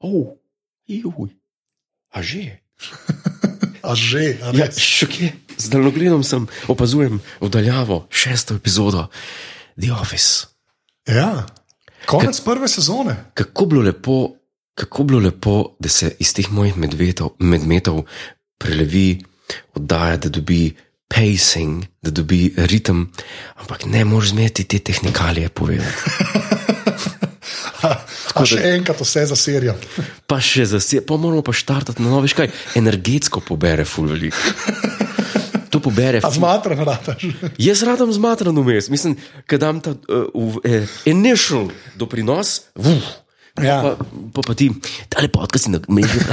Oh, juj. A že? A že, a Ja, res. šokje. Z daljnogledom sem opazujem oddaljavo šesto epizodo The Office. Ja. Konec prve sezone. Kako bilo lepo, kako bilo lepo da se iz teh mojih medvetov, medmetov prelevi oddaja, da dobi pacing, da dobi ritem, ampak ne moreš zmeti te tehnikalije povedati. A še enkrat vse za serijo. pa še zasebno, pa moramo pa štartati na novo, veš kaj, energetsko pobere ful veliko. To pobere. A ful- zmatra narataš. Jaz radam zmatran vmes, mislim, da dam ta uh, uh, initial doprinos, vuf, pa, Ja. pa, pa ti, ta lepotka si na mreži.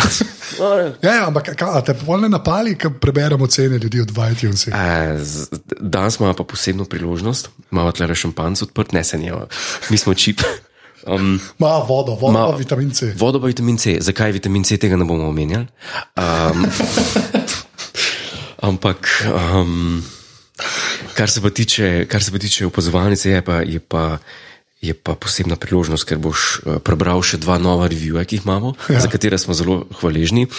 Ja, ja, ampak ka, a te polne napali, ko preberemo cene ljudi od iTunes. Danes imamo pa posebno priložnost, imamo tle šampanc odprt, ne se njeva, mi smo čip. Um, Ma vodo, vodo, Ma- Ma, vitamin C. Vodo pa vitamin C, zakaj vitamin C tega ne bomo omenjali. Um, ampak, um, kar, se pa tiče, kar se pa tiče opazovalnice, je pa, je, pa, je pa posebna priložnost, ker boš eh, prebral še dva nova reviewja, ki jih imamo, ja. za katera smo zelo hvaležni.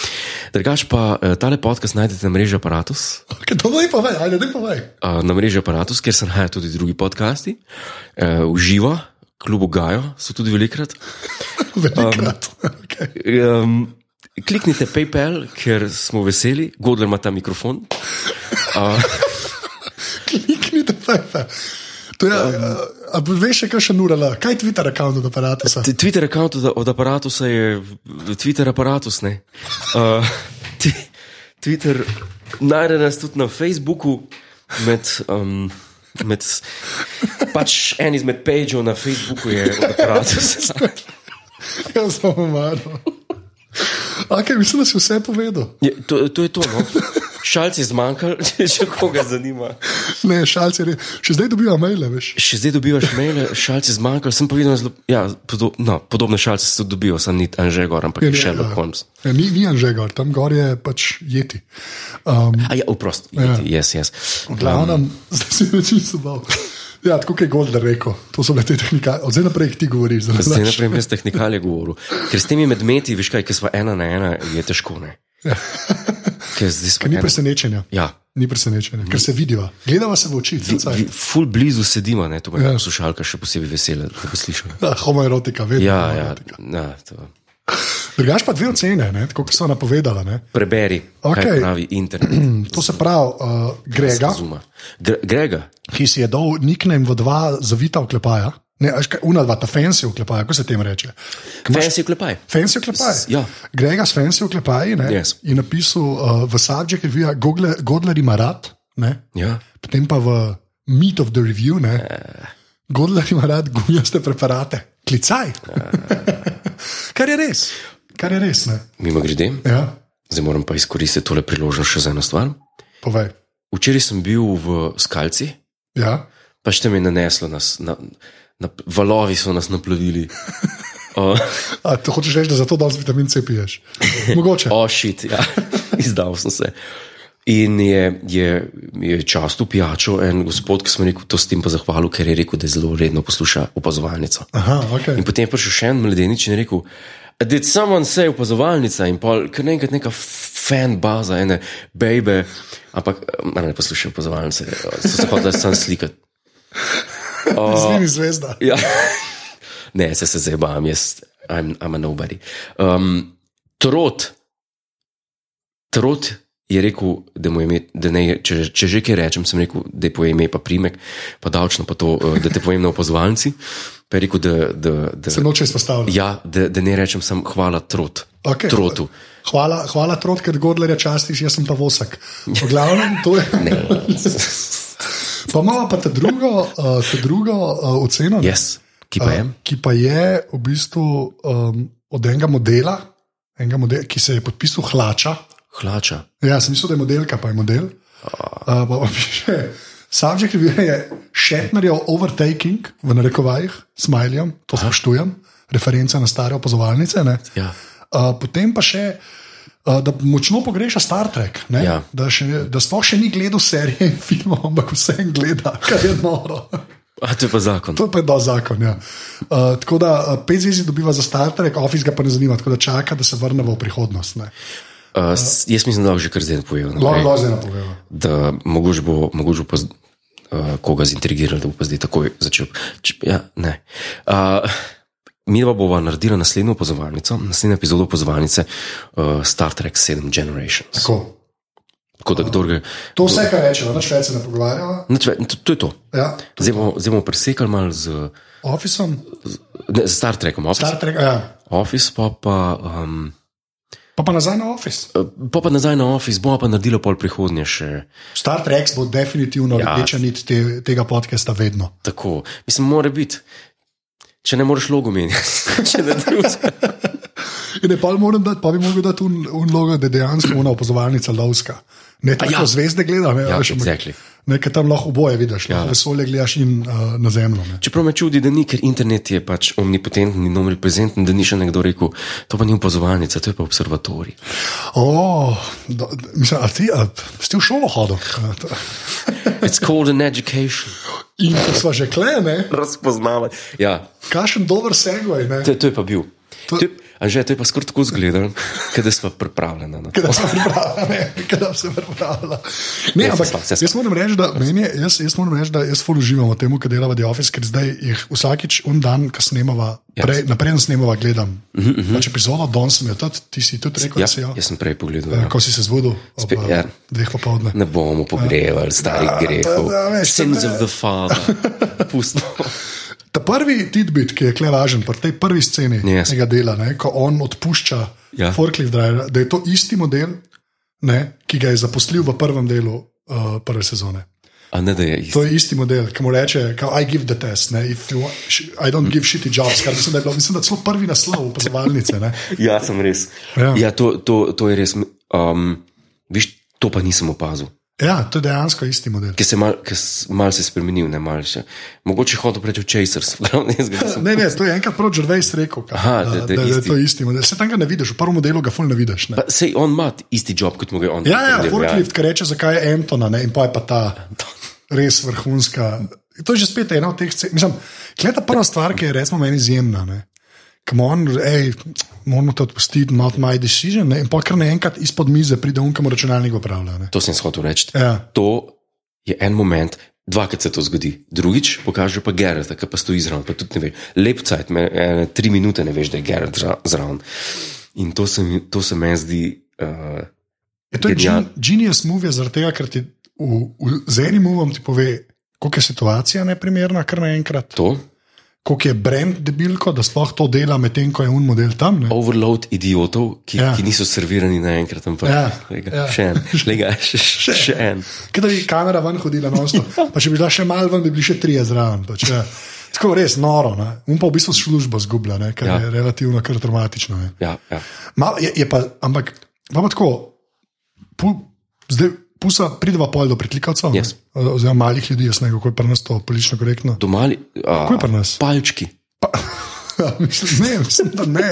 Drugač pa eh, tale podcast najdete na mreži Apparatus. Okay, to ne povej, ajde, ne povej. Uh, na mreži Apparatus, kjer se nahajajo tudi drugi podcasti, uh, uživa, kljub Gajo, so tudi velikrat. Velikrat. Um, okay. Um, kliknite PayPal, ker smo veseli, Godler ima ta mikrofon. Kliknite, pepe. To je, um, a veš, še kaj še nurala, kaj Twitter račun od aparata? T- Twitter račun od, od aparata je Twitter aparatus. ne. Uh, ti- Twitter najde nas tudi na Facebooku med. Um, Med, s- pač en izmed pageov na Facebooku je odprl. Ja, sem umrl. Okay, mislim, da si vse povedal. To, to je to. No. Šalci zmanjkali, če koga zanima. Ne, šalci, re- še zdaj dobivam maile, veš. Še zdaj dobivaš maile, šalci zmanjkali. Sem povedal, zelo, ja, podo, no, podobne šalce se tudi dobijo, sem ni Anže Gor, ampak Ja, je ne, Sherlock ja. Holmes. Ja, ni ni Anže gor, tam gor je pač jeti. Um, A ja, oprost, Ja. jaz, jaz. glavnem, zdaj si več nisem bal. Ja, tako kot je Golder rekel, to so bile te tehnike. Od zdaj naprej ti govoriš, da ne Zdaj znaš. naprej brez tehnikalije govoril. Ker s temi medmeti, veš kaj, ki smo ena na ena, je težko. Ne? Ker zdaj smo Ja. Ni ena. presenečenja. Ja, Ni presenečenja, ker se vidiva. Gledava se v oči, zrcaj. vi ful blizu sedimo, ne, to me Ja. ja. poslušalka še posebej vesela, da poslušam. Ja, homoerotika, vedno. Ja, ja, homoerotika. na, to. Drugač pa dve ocene, ne, tako kot so napovedala. Ne. preberi, okay. Okej. kaj pravi internet. To se pravi, uh, Grega, Zuma. Gre, Grega, ki si je dal nickname v dva zavita oklepaja, ne, až kaj, una dva, ta fancy oklepaja, kako se tem reče. kaj si klepaj? Fancy oklepaj. S- ja. Grega s fancy oklepaji ne, Yes. je napisal uh, v Subject Review, Gogle- Godler ima rad, ne, Ja. potem pa v Meat of the Review, ne, Eh. Godler ima rad gumijaste preparate, klicaj. Eh. kar je res, kar je res. Ne. Mimo grede, Ja, zdaj moram pa izkoristiti tole priložnost še za eno stvar. povej. Včeraj sem bil v Skalci, Ja. pa še mi je naneslo, nas, na, na, valovi so nas naplavili. O, A, to hočeš reči, da zato danes vitamin C piješ? Mogoče. o šit, ja, izdal sem se. In je, je, je často pijačo en gospod, ki sem rekel, to s tem pa zahvalil, ker je rekel, da zelo redno posluša opazovalnico. Aha, okay. In potem je prišel še en mladenič in je rekel: Did someone say opazovalnica in pol, ker naenkrat neka fan baza, ene babe, ampak em, ne poslušaj opazovalnice, eh, so se hoteli sam slikati. Z njimi zvezda. Ja. Ne, se se zabavam, jaz, I'm, I'm a nobody. Um, trot, trot je rekel, da mu je ime, da ne, če, če že kaj rečem, sem rekel, da je poje ime, pa primek, pa davčno, pa to, eh, da te povem na opozovalnici. Pa je rekel, da, da, da Se noče izpostavljati. Ja, da, da ne rečem samo hvala trot, Okej. trotu. Hvala, hvala trot, ker Godler je častiš, jaz sem pa vosek. V glavnem, to je. pa imamo pa ta drugo, uh, ta drugo uh, oceno, ne, Jaz, yes, Ja, ki pa eh, je. ki pa je v bistvu um, od enega modela, enega modela, ki se je podpisal hlača. Hlača. Ja, sem mislil, da je modelka, pa je model. Ah. Uh, pa pa piše, subject review je Šetnerjev overtaking, v narekovajih, smajljem, to spoštujem, referenca na stare opazovalnice. ne. Ja. Uh, potem pa še, uh, da močno pogreša Star Trek, ne? Ja. da, še, da sploh še ni gledal serije in filmov, ampak vse en gleda, kar je noro. A to je pa zakon. To je pa da zakon. Ja. Uh, tako da uh, pet zvezd dobiva za Star Trek, Office ga pa ne zanima, tako da čaka, da se vrnemo v prihodnost. ne. Uh, s- jaz mislim, da lahko že kar zdaj napovejo. Lahko naprej, lahko zdaj napovemo. Da mogoče bo, mogoče bo pa z, uh, koga zintrigiral, da bo pa zdaj takoj začel. Č, ja, ne. Uh, Mi pa bova naredila naslednjo pozvalnico, naslednjo epizodo pozvalnice uh, Star Trek 7 Generations. Tako. Tako da kdo ga. To vse, kar rečemo, več več se ne pogovarjava. Nič ve- To, to je to. Ja. Zdaj bomo, zdaj bomo presekali malo z, Officem, ne, z Star Trekom, Office, Star Star Trek, ja. Office pa, pa, um, pa, pa nazaj na Office. pa, pa nazaj na Office, bomo pa naredili pol prihodnje še. Star Trek bo definitivno Ja. ja. rdeča nit te, tega podcasta vedno. Tako, mislim, mora biti. Če ne moreš logo menjati, če ne Ja, drugega. In ne, pa, moram dati, pa bi mogel dati un, un logo, da je dejansko ona opozovalnica lovska. Ne tako ja. ja. zvezde gleda, ne, Ja, veš, ampak exactly. nekaj tam lahko oboje vidiš, ja. vesolje gledaš in uh, na zemljo. Ne. Čeprav me čudi, da ni, ker internet je pač omnipotenten in omniprezenten, da ni še nekdo rekel, to pa ni opazovalnica, to je pa observatorij. Oh, do, do- mislim, a ti a, si ti v šolo hodil? A, to- It's called an education. In ko smo že klene, Razpoznavanje. Ja, kašen dober segoj. ne. to, to je pa bil. To... To je, Anže, to je pa skoraj tako zgledal, da no. smo pripravljeni. na to. Kada sem pripravljena, kada sem pripravljena. Ne, se ampak spomnim, se jaz moram reči, da meni je, jaz, jaz moram reči, da jaz ful uživam v tem, kar delava The Office, ker zdaj jih vsakič un dan, ko snemava, Ja. pre, naprej snemava, gledam. Uh -huh, uh -huh. Pač epizodo, don sem jo tudi, ti si tudi rekel, Mhm, Ja, da si jo. jaz sem prej pogledal. Ja, Ja. ko si se zbudil, ob Spe- eh, ja. dveh popovdne. Ne bomo pogrevali starih Ja, grehov. pa da, veš, Sins ne. of the Father. Pustimo. Ta prvi tidbit, ki je kle važen, pri tej prvi sceni Yes. yes. tega dela, ne, ko on odpušča Ja. ja. forklift driver, da je to isti model, ne, ki ga je zaposlil v prvem delu uh, prve sezone. A ne, da je isto. To je isti model, ki mu reče, kao, I give the test, ne, if you want, sh- I don't give shitty jobs, kar mislim, da je bilo, mislim, da celo prvi naslov opazovalnice. ne. Ja, sem res. Ja, Ja. ja to, to, to je res. Um, viš, to pa nisem opazil, Ja, to je dejansko isti model. ker se mal, ker s- mal se je spremenil, ne mal še. Mogoče hodil prej v Chasers, glavno jaz ga nisem. Ne, ne, to je enkrat prav Žrvejs rekel, ka, Aha, da- da je da, da, da je isti. to isti model. Se tam ga ne vidiš, v prvem modelu ga ful ne vidiš. Ne. Pa Sej on ima isti job, kot mu ga je on. Ja, ja, naredil, forklift, ki reče, zakaj je Antona ne? in pa je pa ta res vrhunska. To je že spet ena od teh scen. Mislim, kaj je ta prva stvar, ki je recimo meni izjemna. ne. Come on, ej, moramo to odpustiti, not my decision. Ne? In pa kar naenkrat izpod mize pride unkam računalnik upravlja. Ne? To sem hotel reči. Ja. To je en moment. Dvakrat se to zgodi, drugič pokaže pa Gerard, ki pa stoji zraven. Pa tudi ne veš, lep cajt, me, ene, tri minute ne veš, da je Gerard zra- zraven. In to se, mi- to se meni zdi. Uh, Je Ja, to je Genial. gen- genius move, zaradi tega, ker ti v, v, z enim uvom ti pove, koliko je situacija neprimerna, kar naenkrat. to, Koliko je brend debilko, da sploh to dela, medtem ko je un model tam. Ne? overload idiotov, ki, ja. Ja. ki niso servirani naenkrat. Ampak, Ja, Lega, ja. ja. Še en, lega, še, še, še en. Kaj da bi kamera ven hodila na oslo? Pa če bi šla še malo ven, bi bili še trije zraven. Pač, ja. Tako res noro. Ne? Un pa v bistvu službo zgublja, ne? kar Ja. ja. je relativno kar traumatično. Ne? Ja, ja. Mal, je, je pa, ampak pa, pa tako, pu, zdaj pusa prideva pol do pritlikavcev, ne. Yes. O- oziroma malih ljudi, jaz ne vem, kako je pri nas to politično korektno. Domali, a, Kako je pri nas? Palčki. Ja, mislim, ne, mislim, da ne.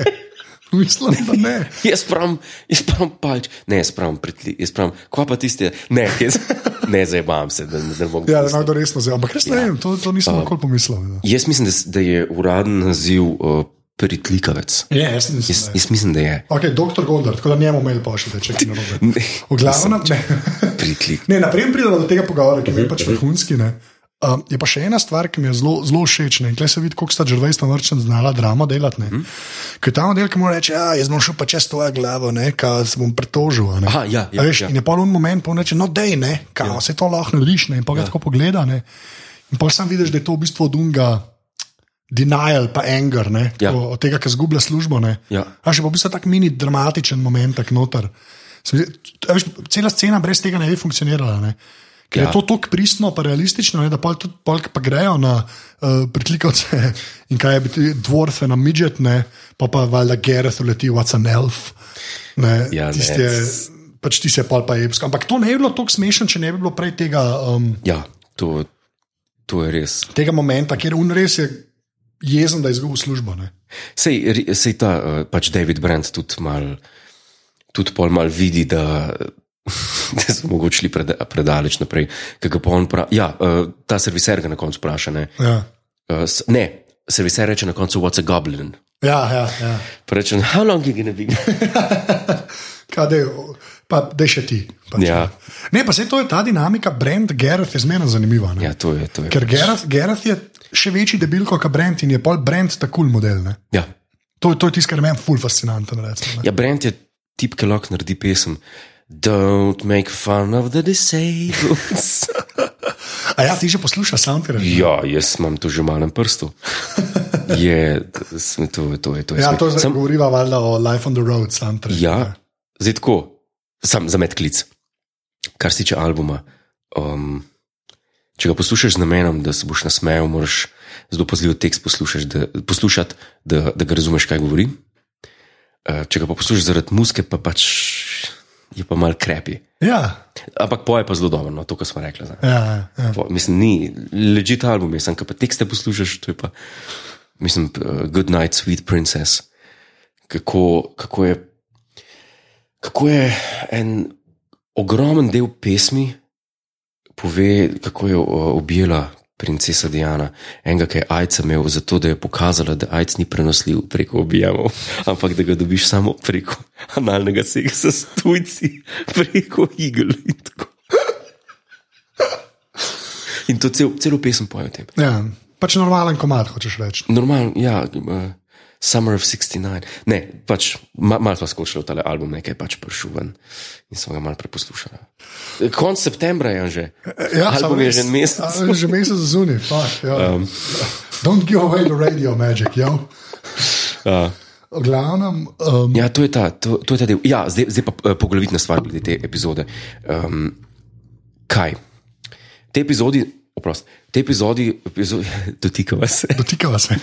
Mislim, da ne. Jaz pravim, jaz pravim palč, ne, jaz pravim pritli, jaz pravim, kva pa tiste, ne, jaz, ne zabam se, da, da ne bom. Ja, da nekdo resno zdaj. Ampak res ne vem, to, to nisem nikoli pomislil. ne. Jaz mislim, da, s- da je uraden naziv uh, pritlikavec. Je, Ja, jaz nisem. Jaz, jaz mislim, da je. Ok, doktor Gondar, tako da njemu mail pošljete, če ti ne robe. Ne, V glavnem, ne. Pritlik. Ne, naprej pridemo do tega pogovora, ki mi Mhm, je pač vrhunski. ne. Um, je pa še ena stvar, ki mi je zelo, zelo všeč. ne, in Tukaj se vidi, koliko sta Džervejs in Vrčen znala drama delati. Mhm. Mm. Ker ta model, ki mu reče, "Ja, jaz bom šel pa čez tvojo glavo, ne, ka se bom pritožil. a Ne. Aha, ja, ja, A veš, ja. In je pa on moment, pa on reče, no, dej ne, kao, ja. se to lahko liš, ne, in pa ga ja. tako pogleda. Ne. In pa sam vidiš, da je to v bistvu od unga. Denial, pa anger, ne, Ja. ja. od tega, ki zgublja službo. ne. Ja. A še pa v bistvu tako mini dramatičen moment, tako noter. Se mi zdi- a veš, Cela scena brez tega ne bi funkcionirala. Ne? Ker Ja. ja. je to tako pristno, pa realistično, ne, da pol tudi polk pa grejo na uh, pritlikavce in kaj je biti dvorfe na midžet, ne, pa pa valjda Gereth uleti, what's an elf. Ne, Ja, ne. tisti je, pač ti se pol pa je epsko. Ampak to ne bi bilo tako smešno, če ne bi bilo prej tega, um, Ja, to, to je res. tega momenta, kjer un res je jezen, da je izgubil službo. Ne. Sej, ri- sej ta eh, pač David Brent tudi mal, tudi pol mal vidi, da, da so mogoče šli preda, predaleč naprej. Kaj ga pa on pravi? Ja, uh, ta serviser ga na koncu vpraša. Ne, Ja, uh, s- ne serviser reče na koncu: What's a goblin? ja, ja. ja. Pa reče: How long you gonna be? Kaj, dej, pa dej še ti. Pa, Ja. Ne, pa se to je ta dinamika, Brent Gareth je zmerno zanimiva. Ne? ja, to je. To je. Ker Gareth, Gareth je še večji debil kot Brent in je pol Brent tako kul cool model. Ne? Ja. To, to je tisto, kar je meni ful fascinantno. Recimo, ne. ja, Brent je tip, ki lahko naredi pesem. Don't make fun of the disabled. A ja, ti že poslušaš soundtrack? Ja, jaz imam to že v malem prstu. Je, sem- to je to. Je, to, je Ja, smeh. to zdaj Sam- govoriva valjda o Life on the Road soundtrack. Ja, zdaj tako, sam za med klic. Kar se tiče albuma, um, če ga poslušaš z namenom, da se boš nasmejal, moraš zelo pazljiv tekst poslušati, da, poslušati, da, da ga razumeš, kaj govori. Uh, če ga pa poslušaš zaradi muske, pa pač je pa mal krepi. Ja, Ampak poje pa zelo dobro, no, to, kar smo rekli. zdaj. ja, ja, ja. Po, mislim, ni ležit album, jaz sem pa tekste poslušaš, to je pa, mislim, p- uh, Good Night, Sweet Princess. Kako, kako, je, kako je en ogromen del pesmi pove, kako je uh, objela princesa Diana, enega, ki je AIDS imel, zato da je pokazala, da AIDS ni prenosljiv preko objemov, ampak da ga dobiš samo preko analnega seksa s tujci, preko igel in tako. In to cel, celo pesem poje o tem. ja. Pač normalen komat, hočeš reči. Normalno, ja, uh, Summer of 69. Ne, pač ma, malo smo skočili v ta album, nekaj je pač prišel ven in smo ga malo preposlušali. Konc septembra je on že. Ja, album samo je res. že en mesec. A, Že mesec zunaj, fuck. Ja. Um. Don't give away the radio magic, ja. Uh, V glavnem, um, ja, to je ta, to, to je ta del. Ja, zdaj, zdaj pa uh, poglavitna stvar glede te epizode. Um, kaj? V tej epizodi, oprost, v tej epizodi, epizodi dotikava se. dotikava se.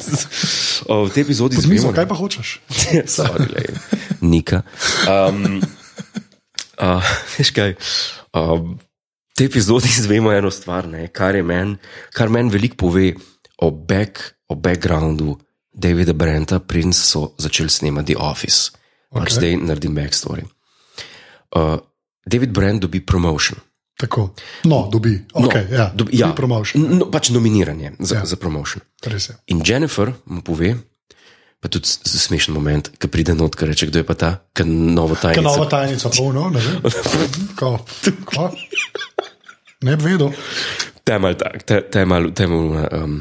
O, v tej epizodi Zmizo, izvemo, kaj pa hočeš? Sorry, lej. Nika. Um, uh, veš kaj? Um, te epizode izvemo eno stvar, ne, kar je meni, kar meni veliko pove o, back, o backgroundu Davida Brenta, princ so začeli snemati The Office. Okay. Pač Okay. zdaj naredim backstory. Uh, David Brent dobi promotion. Tako. No, dobi. Okay, no, ja. dobi, ja, Dobi promotion. N- No, pač nominiran je za, ja. za promotion. Res je. In Jennifer mu pove, pa tudi s- s- smešen moment, ki pride not, ki reče, kdo je pa ta, ki novo Kaj tajnico. nova tajnica, polno, ne vem. Ko, ko? Ne bi vedel. Ta je mal tak, ta, ta je mal, ta je mal um,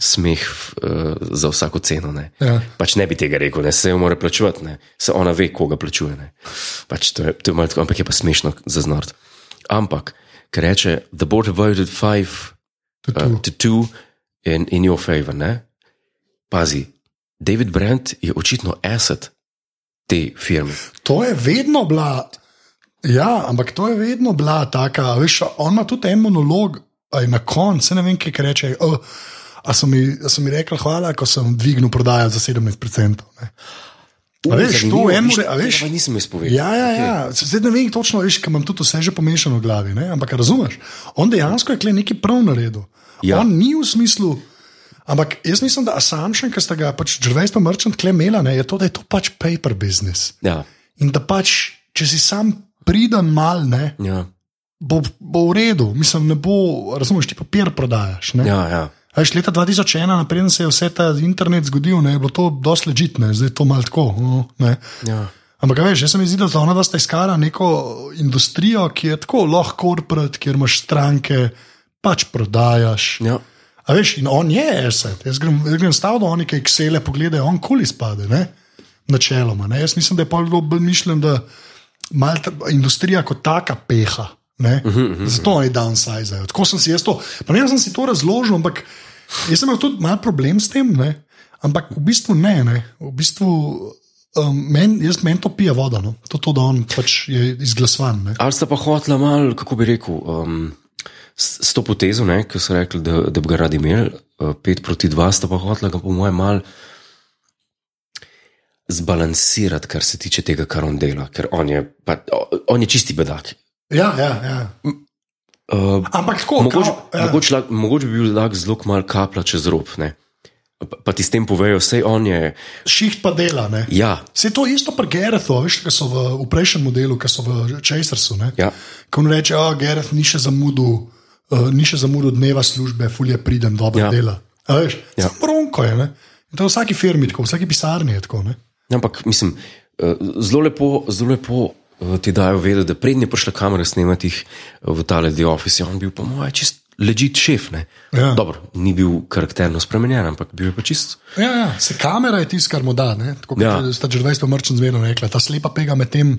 smeh uh, za vsako ceno. Ne. Ja. Pač ne bi tega rekel, ne, se jo mora plačevati, ne. se ona ve, koga plačuje. Ne. Pač to je, to je malo tako, ampak je pa smešno zaznati. Ampak, ker reče, the board voted five To uh, tu. to two in, in your favor, ne. Pazi, David Brandt je očitno asset te firme. To je vedno bila. Ja, ampak to je vedno bila taka. Veš, on ima tudi en monolog, aj na koncu, saj ne vem, kaj kaj reče. Oh, a so mi, a so mi rekli hvala, ko sem dvignil prodajo za 17%. Ne. A veš, to Zanimivo, je eno, viš, a veš. tega pa Nisem jaz povedal. Ja, ja, ja. Zdaj ne vem točno, veš, kaj imam tudi vse že pomešano v glavi, ne? ampak razumeš. On dejansko je kle nekaj prav naredil. Ja. Ja. On ni v smislu. Ampak jaz mislim, da Assumption, ki sta ga pač Džrvejs pa Merchant kle imela, ne, je to, da je to pač paper business. Ja, In da pač, če si sam priden mal, ne, ja, bo, bo v redu, mislim, ne bo, razumeš, ti papir prodajaš. Ne. ja, ja. A Veš, leta 2001, napreden se je vse ta internet zgodil, ne, je bilo to dosti ležitne, zdaj je to malo tako. No, ne. ja. Ampak, a veš, jaz sem izvedel, da ona da sta iskala neko industrijo, ki je tako lahko korporat, kjer imaš stranke, pač prodajaš. ja. A veš, in on je asset. Jaz grem, jaz grem stav, da oni kaj ksele pogledajo, on kul izpade, ne? načeloma. Ne? Jaz mislim, da je pa bilo bolj mišljen, da malta, industrija kot taka peha. Uh -huh, uh -huh. Zato oni downsizajo. Tako sem si jaz to. Pa ne, jaz sem si to razložil, ampak jaz sem imel tudi mal problem s tem, ne? ampak v bistvu ne. ne? V bistvu, um, men, jaz meni to pije voda, no? to, to, da on pač je izglasovan. ne. Ali sta pa hotla malo, kako bi rekel, um, s, s to potezo, ne, ki so rekli, da, da bi ga radi imeli, 5 proti 2, sta pa hotla ga, po mojem, malo zbalansirati, kar se tiče tega, kar on dela, ker on je, pa, o- on je čisti bedak. Ja, ja, ja. Uh, Ampak tako, mogoče, kao, ja. mogoče, lahko- mogoče bi bil lahko zelo mal kaplja čez rob. Ne. pa, pa ti s tem povejo, vse on je. Šiht pa dela. Ne? Ja, Se to isto pri Gerethu, a veš, ki so v, v prejšnjem modelu, ki so v Chasersu. ne. Ja. Ko mu reče, da Gereth ni še zamudil, uh, ni še zamudil dneva službe, fulje pridem, dobro Ja. ja. dela. A veš, Ja. ja. Bronko je. Ne? In to je v vsaki firmi, tako, v vsaki pisarni je tako. Ne? ampak mislim, eh, zelo lepo, zelo lepo eh, ti dajo vedeti, da prednje prišla kamera snemati jih eh, v tale The Office, je on bil po mojem čist ležit šef. Ne? Ja. Dobro, ni bil karakterno spremenjen, ampak bil je pa čist. Ja, ja. Se kamera je tisto, kar mu da. ne. Tako kot Ja. ja. sta že 20 mrčen zmerno rekla, ta slepa pega med tem,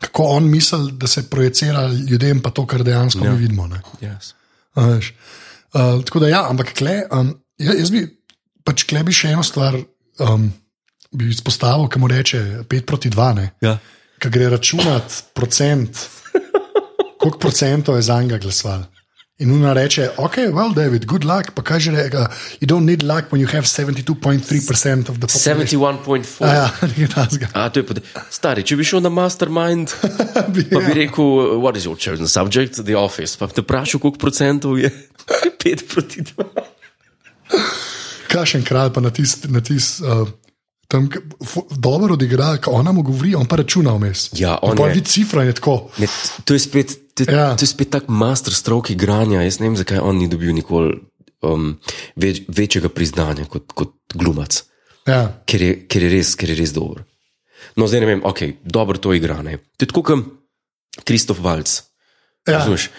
kako on misli, da se projicira ljudem, pa to, kar dejansko ja. mi vidimo. Ne? Yes. A veš. Uh, tako da, ja, ampak kle, um, ja- jaz bi, pač kle bi še eno stvar um, bi izpostavil, ki mu reče 5 proti 2, ne, Ja. ki gre računati procent, koliko procentov je za njega glasoval. In ona reče, ok, well, David, good luck, pa kaj že reče, you don't need luck when you have 72,3% of the population. 71.4. A Ja, nekaj tasga. A, to je pod... Stari, če bi šel na mastermind, pa Ja. bi rekel, what is your chosen subject, the office. Pa bi te vprašal, koliko procentov je 5 proti 2. Kaj še enkrat, pa na tisti, na tis, uh, tam k- fu- dobro odigra, ko ona mu govori, on pa računa vmes. Ja, on pa je- vidi cifra in je tako. Ne, to je spet, to, ja. Ja. to je spet tak master strok igranja. Jaz ne vem, zakaj on ni dobil nikoli um, več, večjega priznanja kot, kot glumac, Ja, ker je, ker, je res, ker je res dober. No, zdaj ne vem, ok, dobro to igra. Ne. To je tako kot Kristof Valc. ja. Razumeš?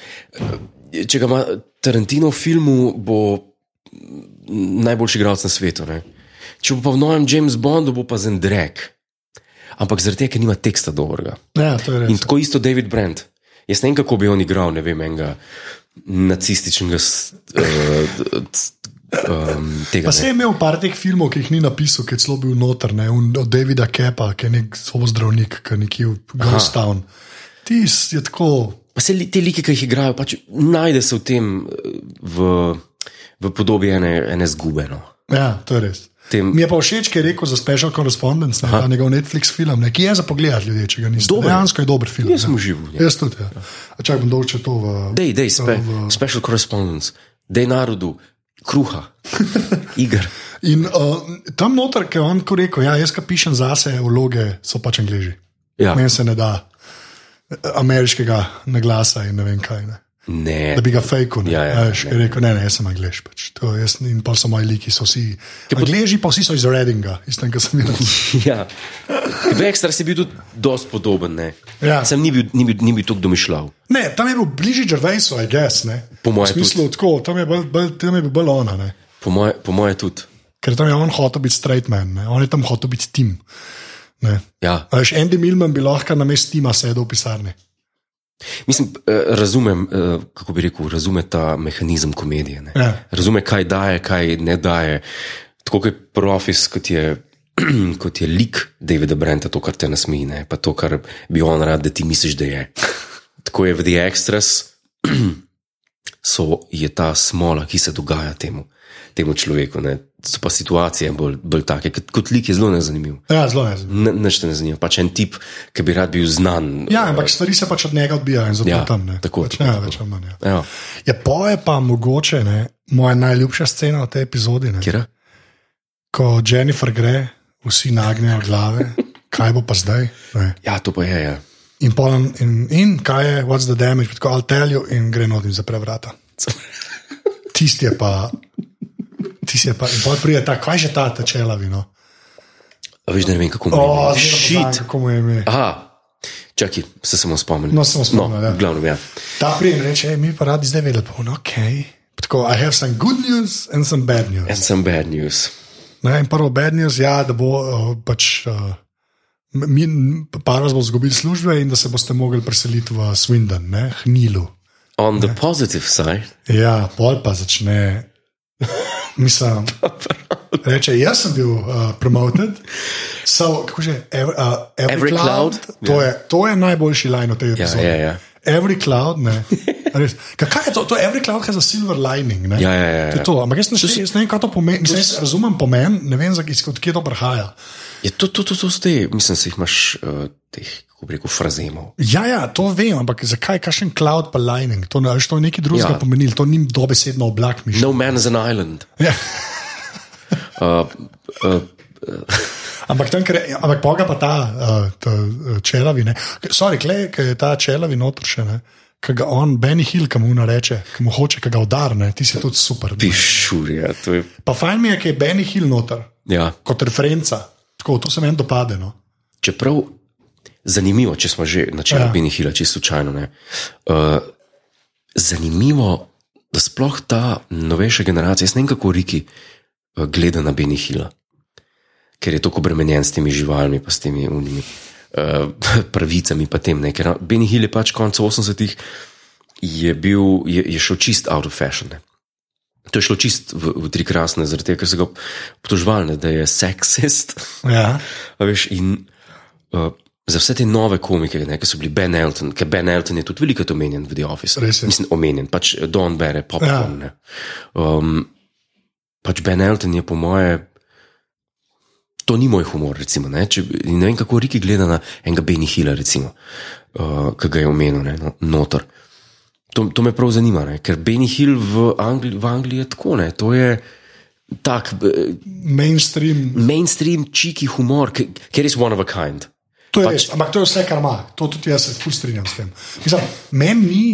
Če ga ima Tarantino v filmu, bo najboljši igralec na svetu. Ne? Če bo pa v novem James Bondu, bo pa zendrek. Ampak zaradi tega, ker nima teksta dobrega. ja, to je In res. tako isto David Brent. Jaz ne vem, kako bi on igral, ne vem, enega nacističnega s- eh, c- em, tega. Pa se ne. je imel par teh filmov, ki jih ni napisal, ki je celo bil noter, ne, un- od Davida Kepa, ki je nek zobozdravnik, ki je nekje v Ghost Town. Tis je tako, Pa se li- te like, ki jih igrajo, pač najde se v tem, eh, v, v podobi ene, ene zgube. No. ja, to je res. Tem- Mi je pa všeč, ker je rekel za Special Correspondence, ne, ta njegov Netflix film, ne, ki je za pogled ljudi, če ga niste. Dober. Dejansko je dober film. Jaz sem ja. užival. ja. Jaz tudi. Ja. A Čakaj, bom dolče to v. Dej, dej, spe, special correspondence, dej narodu, kruha, igr. In uh, tam noter, ki je on ko rekel, ja, jaz ki pišem zase, vloge so pač angliži. Ja. Meni se ne da eh, ameriškega naglasa in ne vem kaj. Ne. Ne, Da bi ga fejkal. Ja, Ja, ja, ja, ja. Rekel, ne, ne, jaz sem angliš. Pač. To, jaz, in pa so moji liki, so vsi. Angliži pa vsi so iz Redinga, iz tega sem jaz. ja. Vexter si bil tudi dosti podoben. Ne. Ja. Sem ni bil, ni bil, ni bil tako domišljav. Ne, tam je bil bližje Gervaisu, I guess. Ne. Po moje V smislu, tako, tam je bolj, bolj, tam je bil bolj ona. Ne. Po moje, po moje tudi. Ker tam je on hotel biti straight man, ne. on je tam hotel biti tim. Ne. Ja. A Veš, Andy Milman bi lahko na mestu tima sedel v pisarni. Mislim, eh, razumem, eh, kako bi rekel, razume ta mehanizem komedije. ne. Ja. Razume, kaj daje, kaj ne daje. Tako kot je profis, kot je, kot je lik Davida Brenta, to, kar te nasmeji, ne? pa to, kar bi on rad, da ti misliš, da je. Tako je v The Extras, so, je ta smola, ki se dogaja temu, temu človeku. Ne? So pa situacije bolj, bolj take, kot, kot lik je zelo nezanimiv. Ja, zelo ne. Nešte ne zanima, pač en tip, ki bi rad bil znan. Ja, ampak stvari se pač od njega odbijajo in zato Ja, ja, tam ne. tako, pač, tako, ja, tako. več ali manj. Ja. Ja, Ja, po je pa mogoče ne, moja najljubša scena v tej epizodi. Ne, kjera? ko Jennifer gre, vsi nagnejo glave, kaj bo pa zdaj. Ne. ja, to pa je. Ja. In, poln, in, in kaj je, what's the damage, tako I'll tell you, in gre not in zapre vrata. Tisti je pa, tisti je pa, in pol pride ta, kaj že ta no?" tečela vino. A veš, da ne vem, kako mu je O, bilo. zelo Oh, Shit. dobro, kako mu je ime. Aha, čakaj, se samo spomnim. No, samo spomnil, ja. Glavno, ja. Ta prijem reče, "Ej, mi pa radi zdaj vedeli, pa ono, ok. Pa Tako, I have some good news and some bad news. And Ja, some bad news. Ne, in prvo bad news je, ja, da bo uh, pač. Uh, Mi, par vas bo izgubil službe, in da se boste mogli preseliti v Swindon, ne, Hnilu. On the positive side. Ja, pol pa začne. Mislim, reče, jaz sem bil uh, promoted, so, kako že, every, uh, every, Every every cloud, cloud. cloud to, je, to je najboljši line v tej Ja, epizodi. ja, ja. Every cloud, ne. Res. Ka- Kaj je to? To je every cloud, kaj za silver lining. Ne? Ja, ja, ja, ja. To je to. Ampak jaz ne, še- jaz ne vem, kaj to pomeni. Mislim, jaz razumem pomen, ne vem, zakaj- odkje to prihaja. Je to, to, to, to ste, mislim, se jih imaš uh, teh, kako bi rekel, frazemov. Ja, ja, to vem, ampak zakaj kakšen cloud pa lining? To, ne, a veš, to je nekaj drugega Ja. ja. pomenilo, to ni dobesedno oblak miš. No man is an island. Ja. Uh, uh, Ampak tam, ker, ampak poga pa ta, uh, ta eh, čelavi, ne. Sorry, klej, ki je ta čelavi notor še, ne. Kaj ga on, Benny Hill, ki mu nareče, ki mu hoče, ki ga udarne, ti si tudi super. ne. pišurja, to je. Pa fajn mi je, ki je Benny Hill notor, Ja. kot referenca. Tako, to se meni dopade. No. Čeprav zanimivo, če smo že načeli ja. Ja. Bini Hila, čisto slučajno. ne. Uh, zanimivo, da sploh ta novejša generacija, jaz ne vem kako Riki uh, gleda na Bini Hila, ker je tako obremenjen s temi živalmi, pa s temi unimi uh, pravicami, pa tem ne. Ker Bini Hil je pač konec 80-ih je, bil- je, je šel čist out of fashion. Ne. To je šlo čist v, v tri krasne, zaradi tega, ker so ga obtožvali, ne, da je seksist. Ja. A Veš, in uh, za vse te nove komike, ne, ki so bili Ben Elton, ker Ben Elton je tudi veliko omenjen v The Office. Res je. Mislim, omenjen, pač Don Bere, popcorn. Ja. Um, pač Ben Elton je po moje. To ni moj humor, recimo. Ne, Če, in ne vem, kako Riki gleda na enega Benny Hilla, recimo, uh, ki ga je omenil, ne, no, notor. To, to me prav zanima, ne? ker Benny Hill v, Angli, v Angliji je tako, ne? to je tak, eh, Mainstream. mainstream čiki humor, ki ki je res one of a kind. To je pač. res, ampak to je vse, kar ima. To tudi jaz se ful strinjam s tem. Mislim, meni ni,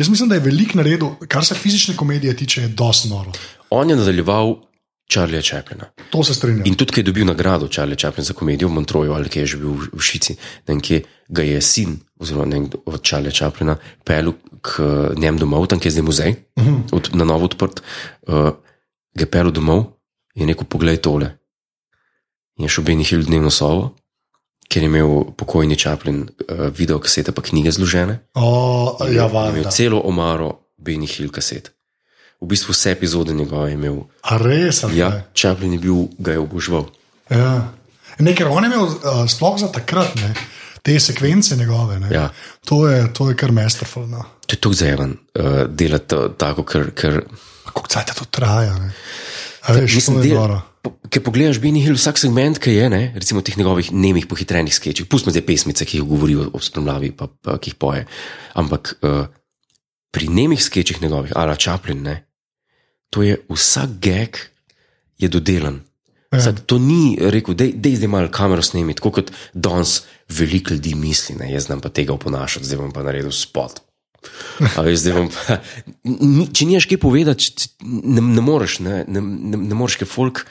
jaz mislim, da je velik naredil, kar se fizične komedije tiče, je dosti noro. On je nadaljeval Charlieja Chaplina. To se strinjam. In tudi, ki je dobil nagrado Charlie Chaplin za komedijo v Montroju ali ki je že bil v- v Švici, ne vem, kje ga je sin, oziroma ne vem, kdo od Charlieja Chaplina, pel k eh, njem domov, tam kjer je zdaj muzej, uh -huh. od, na novo odprt, uh, ga je pel domov in je rekel: Poglej tole. In je šel Benny Hill v dnevno sobo, ker je imel pokojni Chaplin uh, video kasete pa knjige zložene. O, ja, je imel valjda. celo omaro Benny Hill kaset. V bistvu vse epizode njegove je imel. A res, ali Ja, kaj? Chaplin je bil, ga je obožval. Ja. Ne, ker on je imel, uh, sploh za takrat, ne, te sekvence njegove. Ne, Ja. to, je, to je kar masterful. No. To je tako zajeven, uh, delati to tako, ker, ker Kako caj to traja. Ne. A veš, mislim, to je del- noro. po- Ker pogledaš Benny Hill, vsak segment, ki je, ne, recimo teh njegovih nemih pohitrenih skečih, pustimo zdaj pesmice, ki jih govori ob spremljavi, pa, pa ki jih poje. Ampak uh, pri nemih skečih njegovih, ala Chaplin, ne, to je vsak geg je dodelan. Ja. Sad, to ni rekel, da je zdaj malo kamero snemi, tako kot danes veliko ljudi misli, ne, jaz znam pa tega oponašati, zdaj bom pa naredil spot. A Veš, zdaj bom pa, ni, če nimaš kaj povedati, če- če- ne, ne moreš, ne, ne, ne, ne moreš, ker folk.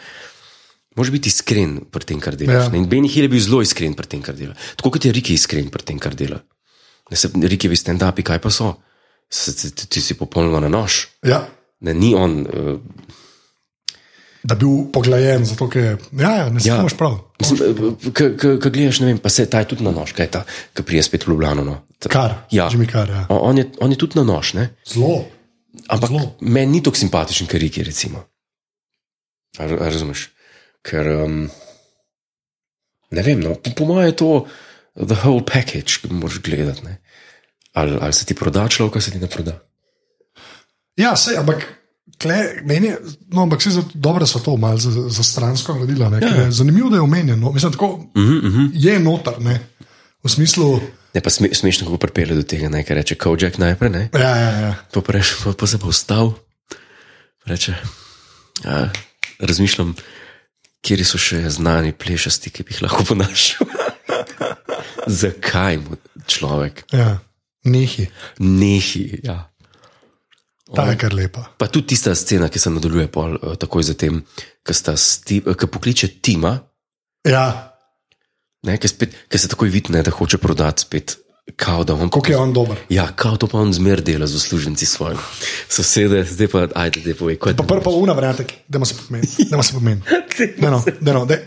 Moraš biti iskren pri tem, kar delaš. Ja. Ja. Benny Hill je bil zelo iskren pri tem, kar dela. Tako kot je Riki iskren pri tem, kar dela. Ne se Riki vi stand-upi, kaj pa so. Se, ti, ti- ti si popolnoma na nož. Ja, Ne, ni on. Uh, da bi bil poglajen, zato ker je- ja, ja, ne Ja. znaš ja. prav. eh, Kaj gledaš, ne vem, pa se ta je tudi na nož, kaj je ta, ki prije spet v Ljubljano. No. Ta- Kar, Ja. že mi kar. Ja. O- On je, on je tudi na nož, ne? Zelo. Ampak Zelo. meni ni tako simpatičen, ker Riki, recimo. A, a razumeš? Ker, um, ne vem, no, po, po mojem je to the whole package, ki ga moraš gledati. ne. Ali, ali se ti proda človek, ali se ti ne proda. Ja, sej, ampak. Kle, meni, je- no, ampak se je dobro, da so to malo za, za stransko naredila. Ja, ne, ker je Zanimivo je, da je omenjeno. Mislim, tako, uh Mhm, -huh, uh -huh. Je noter, ne? v smislu. Ne, pa sme, smešno, kako pripelje do tega, ne, kar reče Kowalczyk najprej, ne. Ja, ja, ja. Pa, pa, reč, pa, pa se pa vstav, pa reče. A, razmišljam, kje so še znani plešasti, ki bi jih lahko ponašal. Zakaj mu človek? ja. Nehi, Nehi. Ja. ta je kar lepa. Pa tudi tista scena, ki se nadaljuje pol, eh, takoj zatem, ki sta sti- eh, ki pokliče Tima, Ja, ne, ki, spet, ki se takoj vidi, ne, da hoče prodati spet. Kao, da on, kako je on dober. ja, kao to pa on zmer dela z usluženci svojim. Sosede, zdaj pa, ajde, zdaj povej, kaj je. Pa prvo pa una vratek, da se pomeni. Da se pomeni. Ne, no, ne, no, daj.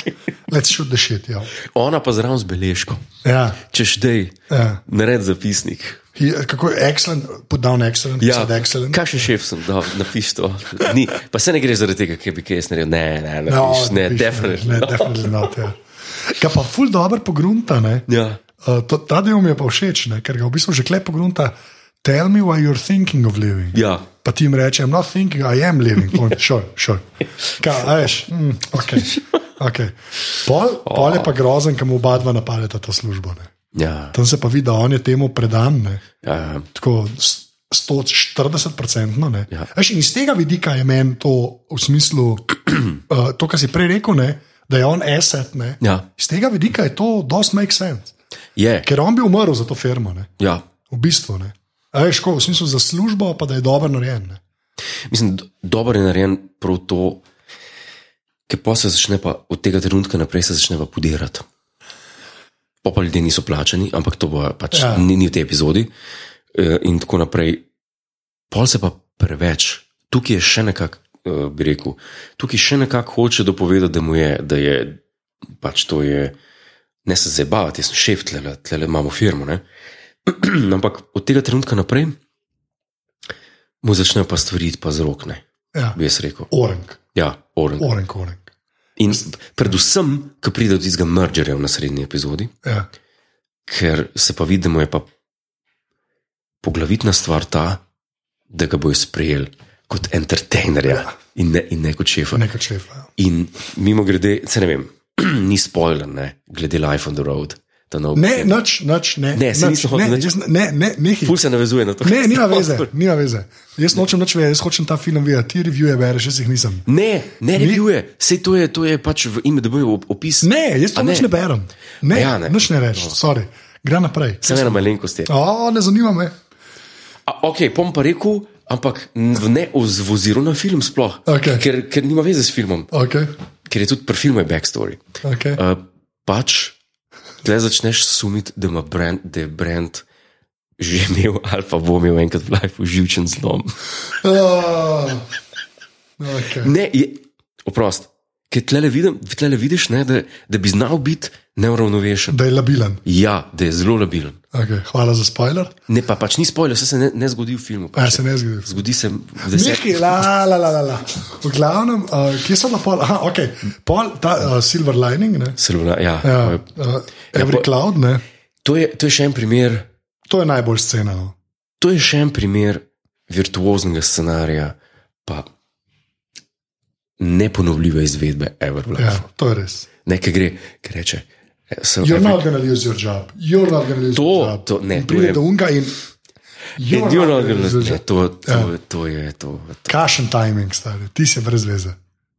let's shoot the shit. Ja. Ona pa zraven z beležko. Ja, Češ dej, ja. nared zapisnik. He, kako je excellent, put down excellent, ja. said excellent. kakšen šef sem, da napiš to. Ni, pa se ne gre zaradi tega, ker bi kaj jaz naredil. Ne, ne, ne, No, napiš, ne, napiš, definitivno. Ne, definitely not. Ja. Ga pa ful dobro pogrunta, ne. Ja. Uh, to, ta del mi je pa všeč, ne, ker ga v bistvu že klep pogrunta. Tell me why you're thinking of living. ja. Pa ti jim reče, I'm not thinking, I am living. Point. Sure, sure. Kaj, a veš, mm, ok. okay. Pol, pol je pa Oh. grozen, kam oba dva napadeta to službo. Ne. Ja. Tam se pa vidi, da on je temu predan. Ne. ja. Tako, s- 140-odstotno. Ja. Ja. In iz tega vidika je meni to v smislu, uh, to, kar si prej rekel, ne, da je on asset. Ne, Ja. Iz tega vidika je to dost make sense, Je, ker on bi umrl za to firmo, ne, ja. v bistvu. Ne. A veš, ko, v smislu za službo, pa da je dobro narejen. Ne. Mislim, do- dobro je narejen prav to, ker pa se začne pa od tega trenutka naprej se začne pa podirati. Pa pa ljudje niso plačani, ampak to bo pač ja. Ja. ni, ni v tej epizodi eh, in tako naprej. Pol se pa preveč, tukaj je še nekako, eh, bi rekel, tukaj še nekako hoče dopovedati, da mu je, da je pač to je, ne se zabavati, jaz sem šef, tle, tle imamo firmo. Ne? ampak od tega trenutka naprej mu začnejo pa stvari iti pa z rok, ne Ja. bi jaz rekel. Orenk, Ja, oren. orenk, orenk. In predvsem, ko pride do tistega mergerja v naslednji epizodi, Ja. ker se pa vidi, da mu je pa poglavitna stvar ta, da ga bojo sprejeli kot entertainerja ja. in, ne, in ne kot šefa. Ne. Nekaj šefa. ja. In mimo grede, se ne vem, ni spoiler, ne, glede Life on the Road. ta nov- Ne, nič, nič, ne. Ne, saj nič, nisem hotel ne, nič. jaz ne, ne, ne, nehaj. Ful se navezuje na to. Ne, nima veze, nima veze. Jaz nočem nič vedeti, jaz hočem ta film videti, ti revije bereš, jaz jih nisem. Ne, ne, ne, ne, vse to je, to je pač v IMDB-ju opis. Ne, jaz A to ne? nič ne berem. Ne, Ja, ja, ne. ne. nič ne rečem, sorry. Gre naprej. Samo ena malenkost je. O, ne zanima me. A, Ok, bom pa rekel, ampak n- v- ne oz- v oziru na film sploh, Okej. ker, ker nima veze s filmom, Okay, ker je tudi pri filmu je backstory. okay. Uh, pač, tle začneš sumiti, da, ima brand, da je brand že imel ali pa bo imel enkrat v lifeu živčen zlom. Uh, okay. Ne, je, oprost, ker tle vidim, tlele vidiš, ne, da, da bi znal biti neuravnovešen. Da je labilen. Ja, da je zelo labilen. Okay, hvala za spoiler. Ne, pa pač ni spoiler, vse se ne, ne zgodi v filmu. Ja, Pač. se ne zgodi. Zgodi se v desetih. Nekaj, la, la, la, la, la. V glavnem, uh, kje so na pol? Aha, ok, pol, ta uh, silver lining, ne? Celo, ja. Ja, ja. uh, every cloud, ne? To je, to je še en primer, To je najbolj scena. no. to je še en primer virtuoznega scenarija, pa neponovljive izvedbe Ja, Everlife. Ja. to je res. Nekaj gre, ki reče. eh, so You're every- not gonna lose your job. You're not gonna lose To- your job. to- ne, In to pride je- do unga in. Ne, You're, you're not gonna- ne, To to Ja. je to. Je, to, to. Kašen timing, stari, ti si brez veze.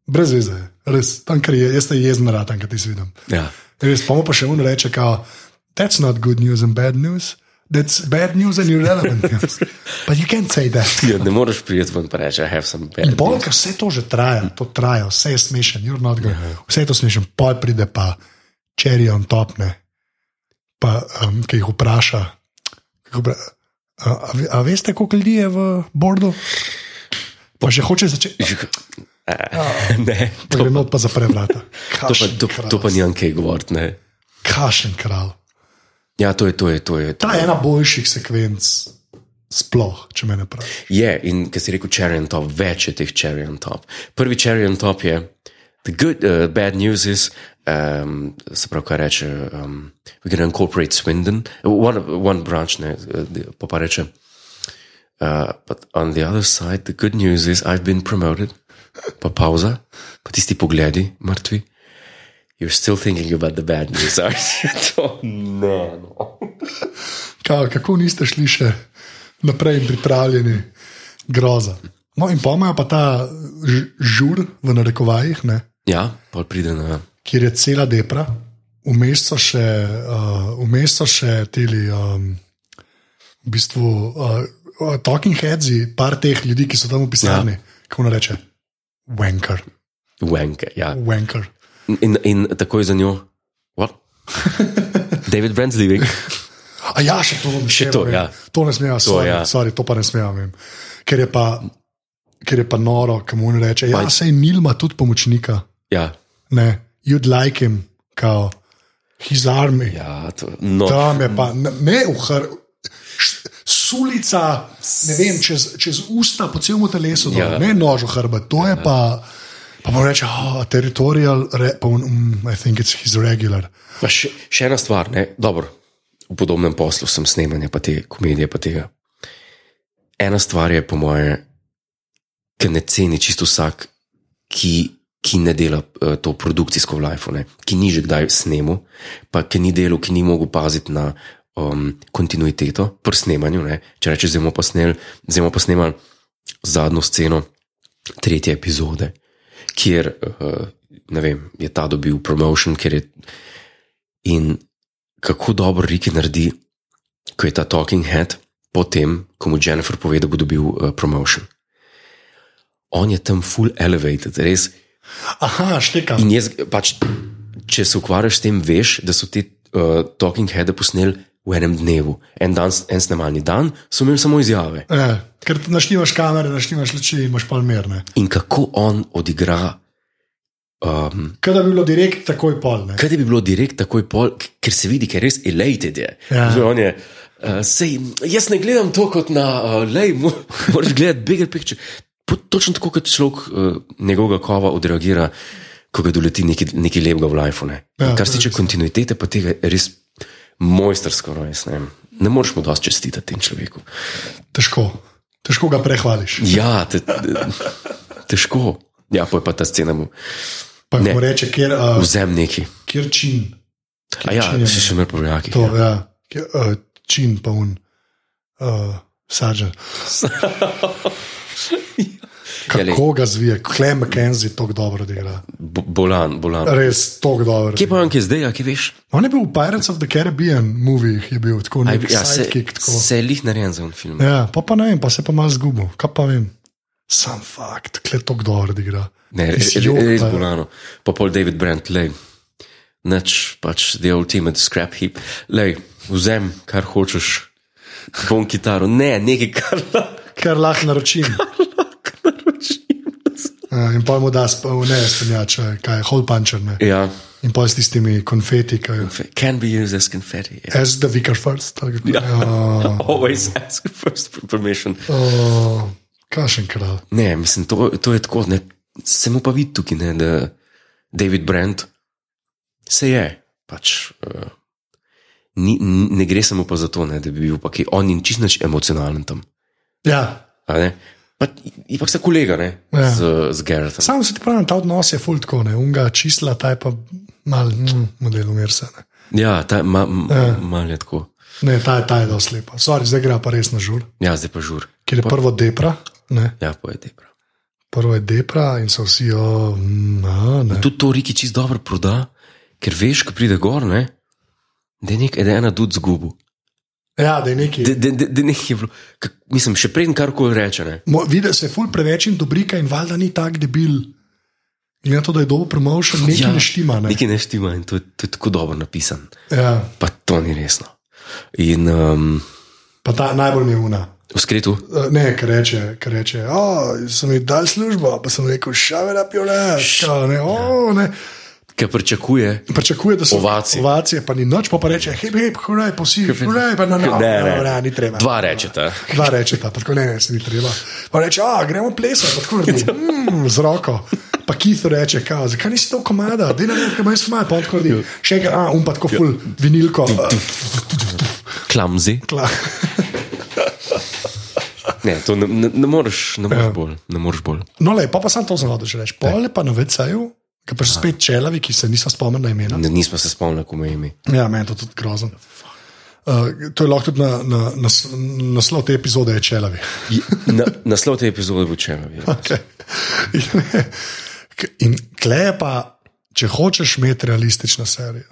Brez veze, je, res. Tam, ker je, jaz te jezno ratam, kaj ti si vidim. Ja. Res, pa mu pa še un reče, kao, that's not good news and bad news. That's bad news and irrelevant news. But you can't say that. Ja, ne moreš priti ven in reči, I have some bad. Bolj, ker vse to že traja, to traja, vse je smešen, you're not good. Vse je to smešen, pol pride pa čeri on top, ne. Pa, um, ki jih vpraša. ki jih vpra- A, a, ve- a veste, koliko ljudi je v Bordu? Pa že hoče začeti. Eh, Ne, Pa to, gre not pa zapre vrata. to, pa, Kašen to, kralj. to pa ni ankej govoriti. ne. Kašen kralj. Ja, to je to. Je, to je, to Ta je. je ena boljših sekvenc, sploh, če me ne pravi. je in ki si rekel cherry on top, več je teh cherry on top. Prvi cherry on top je, the good, uh, bad news is, um, se pravi, kaj reče, um, we're gonna incorporate Swindon, one, one branch, ne, uh, the- pa pa reče. Uh, but on the other side, the good news is I've been promoted. Pa pauza, pa tisti pogledi, mrtvi. You're still thinking about the bad news, aren't you? To ne. No. Ka, kako niste šli še naprej in pripravljeni, groza. No, in pomajo pa ta ž- žur v narekovajih, ne, Ja, pa pride na. kjer je cela depra, vmes so še, uh, vmes so še teli, um, v bistvu, uh, uh, talking heads, par teh ljudi, ki so tam opisani, ja. kako ne reče, wanker, Wanke, ja. wanker. In, in takoj za njo, what? David Brent's leaving. A ja, še to bom še to, ja. To ne smejo, to, sorry, ja. ja. sorry, to pa ne smejo. Vem. Ker je pa. Ker je pa noro, kam on reče, ja, Pa- sej Nil ima tudi pomočnika, Ja, ne, you'd like him, kao, his army. Ja. ja to, no. Tam je pa, ne, ne v hr, š- sulica, ne vem, čez, čez usta, po celem telesu, Ja. ja. ne nož v hrbet, to ja. je pa, pa mu reče, oh, teritorial, re, pa, on, mm, I think it's his regular. Pa še, še ena stvar, ne, dobro. V podobnem poslu sem snemanje, pa te komedije, pa tega. Ena stvar je, po moje, ki ne ceni čisto vsak, ki, ki ne dela eh, to produkcijsko v lifeu, ne, ki ni že kdaj snemal, pa ki ni delal, ki ni mogel paziti na um, kontinuiteto pri snemanju. Ne? Če rečeš, zdaj bomo posneli, zdaj bomo posnemali zadnjo sceno tretje epizode, kjer uh, ne vem, je ta dobil promotion, ker je. In kako dobro Riki naredi, ko je ta talking head, potem, ko mu Jennifer pove, da bo dobil uh, promotion. On je tam full elevated, res. Aha, štekam. In jaz, pač, če se ukvarjaš s tem, veš, da so ti uh, Talking Head posneli v enem dnevu. En, dan, en snemalni dan so imeli samo izjave. Ja, ker naštimaš kamere, naštimaš luči, imaš palmerne. In kako on odigra, um, Kaj da bi bilo direkt takoj polne. kaj da bi bilo direkt takoj pol, k- ker se vidi, ker res elated je. Ja. Zdaj, on je uh, sej, jaz ne gledam to kot na, uh, lej, mo- moraš gledati bigger picture. Po, točno tako, kot človek uh, njegovega kova odreagira, ko ga doleti nekaj, nekaj lepega v lifeu. Ne? Ja, In Kar se to je tiče kontinuitete, pa tega je res mojstersko, no, jaz ne, vem. ne moreš mu dosti čestitati tem človeku. Težko, težko ga prehvališ. Ja, te, te, težko. Ja, pa je pa ta scena mu Pa Ne. mu reče, kjer, uh, vzem neki. kjer čin. A ja, Čin je si še mer povojaki. To, ja. Kjer, uh, čin pa un, uh, sažen. Ja, Kako ga zvije, Klem McKenzie tako dobro dela. Bo- Bolan, bolan. Res tako dobro. Kje pa on, ki je zdaj, a kje veš? On je bil v Pirates of the Caribbean movijih, je bil tako Aj, nek ja, se, sidekick. Tako. se je lih narejen za en film. Ja, pa, pa ne vem, pa se pa malo zgubil, kaj pa vem. Sam fakt, kle to kdo odigra. Ne, e, Ti res, si jok, res pa- ja. bolano. Pa pol David Brent, lej. Nač pač the ultimate scrap heap. Lej, vzem, kar hočeš. Bom kitaro. Ne, nekaj, kar lahko Kar lahko naročim. naročim. Ja, in pa mu da sp- v ne spenjač, eh, kaj je hole puncher. Ne. Ja, In pa s tistimi konfeti, kaj je. can be used as confetti. Yeah. As the vicar first. ali kako- Ja. Always ask first for permission. O, Kašen kralj. Ne, mislim, to, to je tako, ne, se mu pa vidi tukaj, ne, da David Brent se je. Pač, uh, ni, ni- ne gre samo pa za to, ne, da bi bil pa ki on in čist nič emocionalen tam. Ja, a ne. Pa, ipak sta kolega ne, Ja. ja. z, z Gerardom. Sam se ti pravi, ta odnos je full tako, ne, unga čisla, ta je pa mal, mm, model umirsa. Ne. Ja, ta, ma, ja. malo je tako. ne, ta je, ta je doslepa. Sorry, zdaj gre pa res na žur, Ja, zdaj pa žur. ker je prvo depra, ne, Ja, pojdi prav. prvo je depra in so vsi, o, mm, a, ne. Tudi to Riki čist dobro proda, ker veš, ko pride gor, ne, da je nek, da je ena dud zgubo. Ja, da je neki. Da- da- da- da nekaj je bilo. Kak, mislim, še preden karkoli reče. Ne. Mo- Vidi se ful preveč in dobrika in valjda ni tak debil. Glede na to, da je dobo promotion, nekaj ja, ne štima. Ne. Nekaj ne štima in to, je- to je tako dobro napisano. Ja, Pa to ni resno. In um, pa ta najbolj neuna. v skretu, Eh, Ne, ker reče, ker reče, o, sem ji dal službo, pa sem rekel, šave na pjole, šave, o, ne. ki pričakuje, Pričakuje, da so ja. Ovacije. ovacije, pa ni noč, pa, pa reče: hej, hej, huraj, posi, huraj, pa na noč. Ne, ne. ni treba. dva rečeta. Dva reče ta, pa tako ne, ne, se ni treba. Pa reče: a gremo plesati, pa tako reče: mm, z roko. Pa Keith reče: kao, zakaj nisi to komada, da ne vem, kaj imaš smaj, pa on tako reče: še enkrat, a um pa tako ful, vinilko. eh, Klamzi. tla." Ne, to ne, ne, ne moreš, ne Ja. moreš bolj. Ne moreš bolj. No, le, pa, pa sem to znal, da že rečeš. Pole pa na VC-ju, ki pa še spet čelavi, ki se niso spomnili imena. Ne, nismo se spomnili, kako me ime. Ja, meni je to tudi grozno. Uh, to je lahko tudi na, na, na, naslov te epizode, je čelavi. Na, naslov te epizode bo čemer. Okay. Pač. In, k- in kleje pa, če hočeš imeti realistično serijo,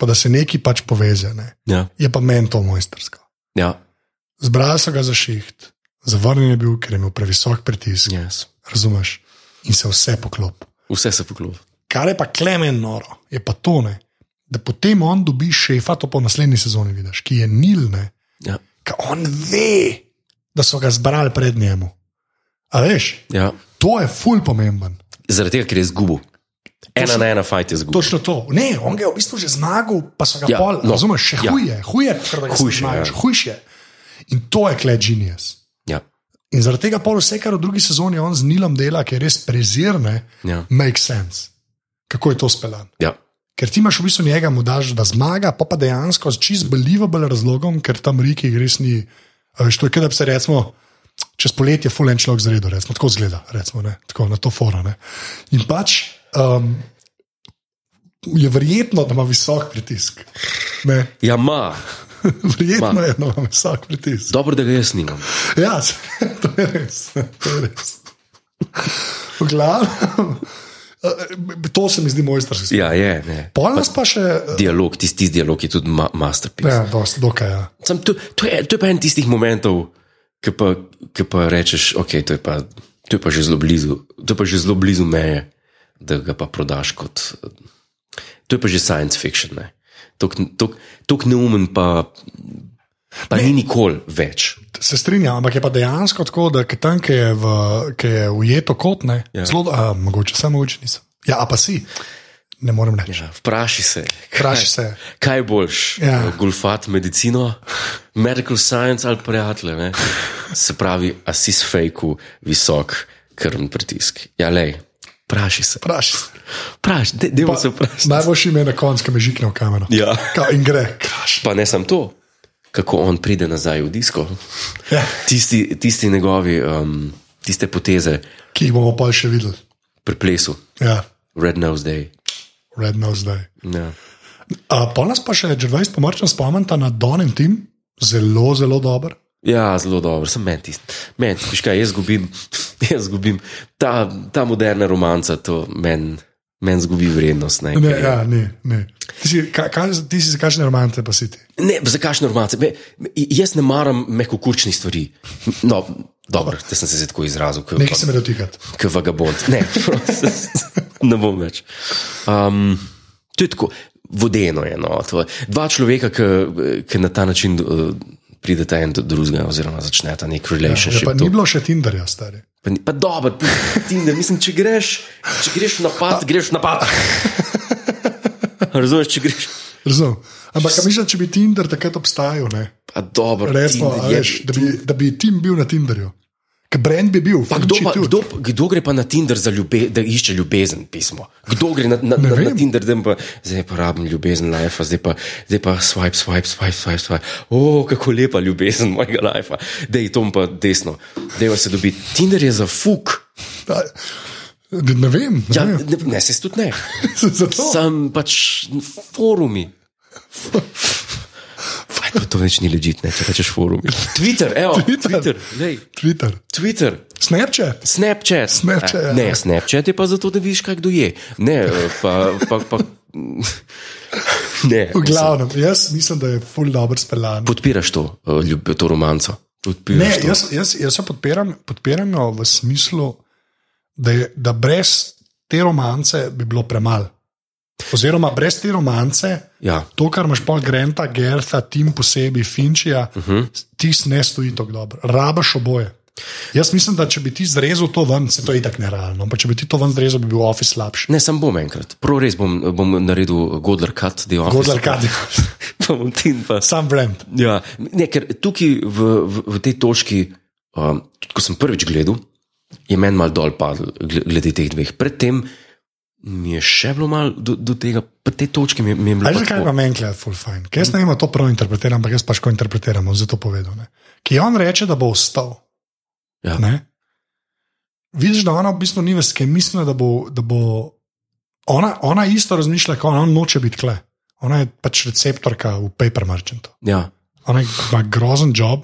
pa da se neki pač poveže, ne, Ja, je pa meni to mojstrsko. ja, Zbrali so ga za šiht, zavrnjen je bil, ker je imel previsok pritisk, yes. razumeš, in se vse poklop. vse se poklopi. Kar je pa klemen noro, je pa tone, da potem on dobi šefa, to pa v naslednji sezoni vidiš, ki je nilne, Ja, ki on ve, da so ga zbrali pred njemu. A veš, ja. to je ful pomemben. Zaradi tega, ker je izgubil. Ena na ena fajt je izgubil. Točno to. Ne, on ga je v bistvu že zmagal, pa so ga ja, Ja, pol, no, no, razumeš, še ja. ja. huje, huje, ker da ga Hujše, zmagaš, ja. hujše. In to je klej genijus. Ja, In zaradi tega pol vse, kar v drugi sezoni on z Nilom dela, ki je res prezirne, ja, make sense. Kako je to speljan? ja. Ker ti imaš v bistvu njega, mu daš, da zmaga, pa pa dejansko z čist believable razlogom, ker tam reki res ni. a Veš, to je, eh, kot da bi se recimo. Čez poletje fulen človek zredo, recimo, tako zgleda, recimo, ne, tako na to fora. Ne. In pač um, je verjetno, da ima visok pritisk. Ne. Ja, ima, Verjetno je na vsak pritisk. Dobro, da ga jaz snimam. Ja, se- to je res. To je res. V glavnem, eh, to se mi zdi mojstrski. Ja, je, ne. Pol nas pa še. eh, Dialog, tisti tis dialog je tudi ma masterpiece. Ja, dosti, dokaj. Ja. Sam to, to, je, to je pa en tistih momentov, ki pa, ki pa rečeš, ok, to je pa, to je pa že zelo blizu, to je pa že zelo blizu meje, da ga pa prodaš kot. To je pa že science fiction. ne. Tok- tok- Tok neumen pa, pa ni nikoli več. Se strinjam, ampak je pa dejansko tako, da ke tam, ki je, v, ki je ujeto kot ne, ja. zelo, a, mogoče samo mogoče nisem. Ja, a pa si, ne morem Ja, reči. Vpraši se. kaj- Vprašaj se. Kaj boljš? eh, Ja. Gulfat, medicino, medical science ali prijatelje. Ne? Se pravi, a si s fejku visok krvni pritisk. Ja, lej, vpraši se. Vprašaj se. Praš, de, dejmo se vprašati. Najboljši ime na koncu, ki me žikne v kamero. Ja. Ka, in gre, kraš. Pa ne samo to, kako on pride nazaj v disko. Ja, Tisti, tisti njegovi, um, tiste poteze ki jih bomo pa še videli. pri plesu, Ja, Red Nose Day. red nose zdaj. Ja. Pol nas pa še Džervajs pomorčen spomnita na Don in Tim, zelo, zelo dober. Ja, zelo dobro, sem meni tisti. Men, veš kaj, jaz zgubim, jaz zgubim ta, ta moderna romanca, to meni men zgubi vrednost. Ne, Ne, ker- ja, ne, ne. Ti si, ka, ka, ti si za kakšne romante pa si ti. ne zakaj normance? Me, jaz ne maram mehkokurčnih stvari. No, dobro, da sem se zdaj tako izrazil. ko- Nekaj se me dotikati. kot vagabond. Ne, prosim, ne bom več. Um, to je tako, vodeno je. No, to je. Dva človeka, ki- ki na ta način uh, prideta en do drugega, oziroma začneta nek Ja, relationship. pa Ja, ni bilo še Tinderja, stari. Pa, ni- pa dobro, ti, ti ne, mislim, če greš, če greš v napad, greš v napad. Razumeš, če greš. Razumem. Ampak a mislim, če bi Tinder takrat obstajal, ne? Pa dobro, resno, ti a je- veš, da, bi, da bi tim bil na Tinderju. Ker brand bi bil, Pa film kdo, pa, Čitut. kdo, kdo gre pa na Tinder, za ljube, da išče ljubezen pismo? Kdo gre na, na, na, na vem. Tinder, da jim pa zdaj pa rabim ljubezen life, zdaj pa, zdaj pa swipe, swipe, swipe, swipe, swipe. O, kako lepa ljubezen mojega life, da je tom pa desno, da je se dobi. Tinder je za fuk. A, Ne, ne vem, ne Ja, vem. ne, ne se tudi ne. Zato, Sam pač forumi. Faj, pa to več ni ležit, ne, če rečeš forumi. Twitter, evo, Twitter, Twitter, lej, Twitter, Twitter. Snapchat, Snapchat. Snapchat, ja. Eh, ne, Snapchat je pa zato, da vidiš, kaj kdo je. Ne, eh, pa. pa, pa ne, v glavnem, jaz mislim, da je full dobro speljan. podpiraš to, eh, ljub, to romanco. Ne, Podpiraš to. jaz, jaz, jaz jo podpiram, podpiram jo v smislu, da, je, da brez te romance bi bilo premalo. Oziroma, brez te romance, Ja. to, kar imaš pol Grenta, Gertha, tim posebej Finčija, uh -huh. ti ne stoji tako dobro. Rabaš oboje. Jaz mislim, da če bi ti zrezal to ven, se to je tako nerealno. Ampak če bi ti to ven zrezal, bi bil office slabši. Ne, sam bom enkrat. Prav res bom, bom naredil Godler Cut, da je on. Godler Cut. Pa bom tin pa. Sam brand. Ja, ne, ker tukaj v, v, v tej točki, um, tudi ko sem prvič gledal, je meni mal dol padel gle- glede teh dveh. Predtem mi je še bilo malo do, do tega, pri tej točki mi, je- mi je bilo. Ali pa že kaj tako- ima meni gledati, full fine. Ker jaz ne vem, a to prav interpretiram, ampak jaz pač ko interpretiram, bom zato povedal. Ne. Ki on reče, da bo ostal. Ja. Ne? Vidiš, da ona v bistvu ni veske, misli, da bo. Da bo ona, ona isto razmišlja, kot ona, on noče biti kle. Ona je pač receptorka v Paper Merchantu. Ja, Ona ima grozen job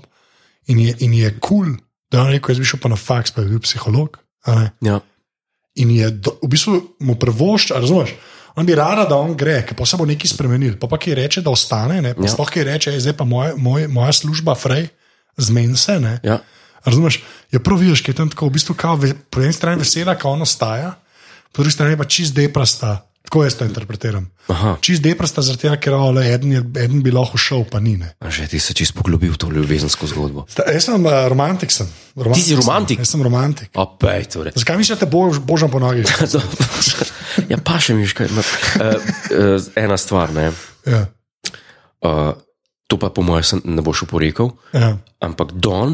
in je, in je kul, cool, da je on rekel, jaz bi šel pa na faks, pa bi bil psiholog. a ne. ja. In je do, v bistvu mu prevošča, razumeš? On bi rada, da on gre, ker pa se bo nekaj spremenil. Pa, pa ki reče, da ostane, ne, pa Ja. sploh ki reče, "Ej, zdaj pa moja, moja, moja služba, frej, zmeni se. Ne. Ja, Razumeš? Je prav, vidiš, ki je tam tako, v bistvu, kao, ve, po eni strani vesela, kao ona ostaja, po drugi strani je pa čist deprasta. Tako jaz to interpretiram. aha. Čist deprasta, zaradi tega, ker oh, le, eden, je, eden bi lahko šel, pa ni. Ne. A Že ti si čisto poglobil v to ljubezensko zgodbo. Sta- Jaz sem uh, romantik. Sem. romantik si romantik? Sem. Jaz sem romantik. Opej, torej. Zakaj misliš, da te bož, božam po nogi? To- Ja, pa še mi je kaj. Uh, uh, ena stvar, ne. Ja, Uh, to pa po mojem sem- ne boš oporekal. ja. ampak Don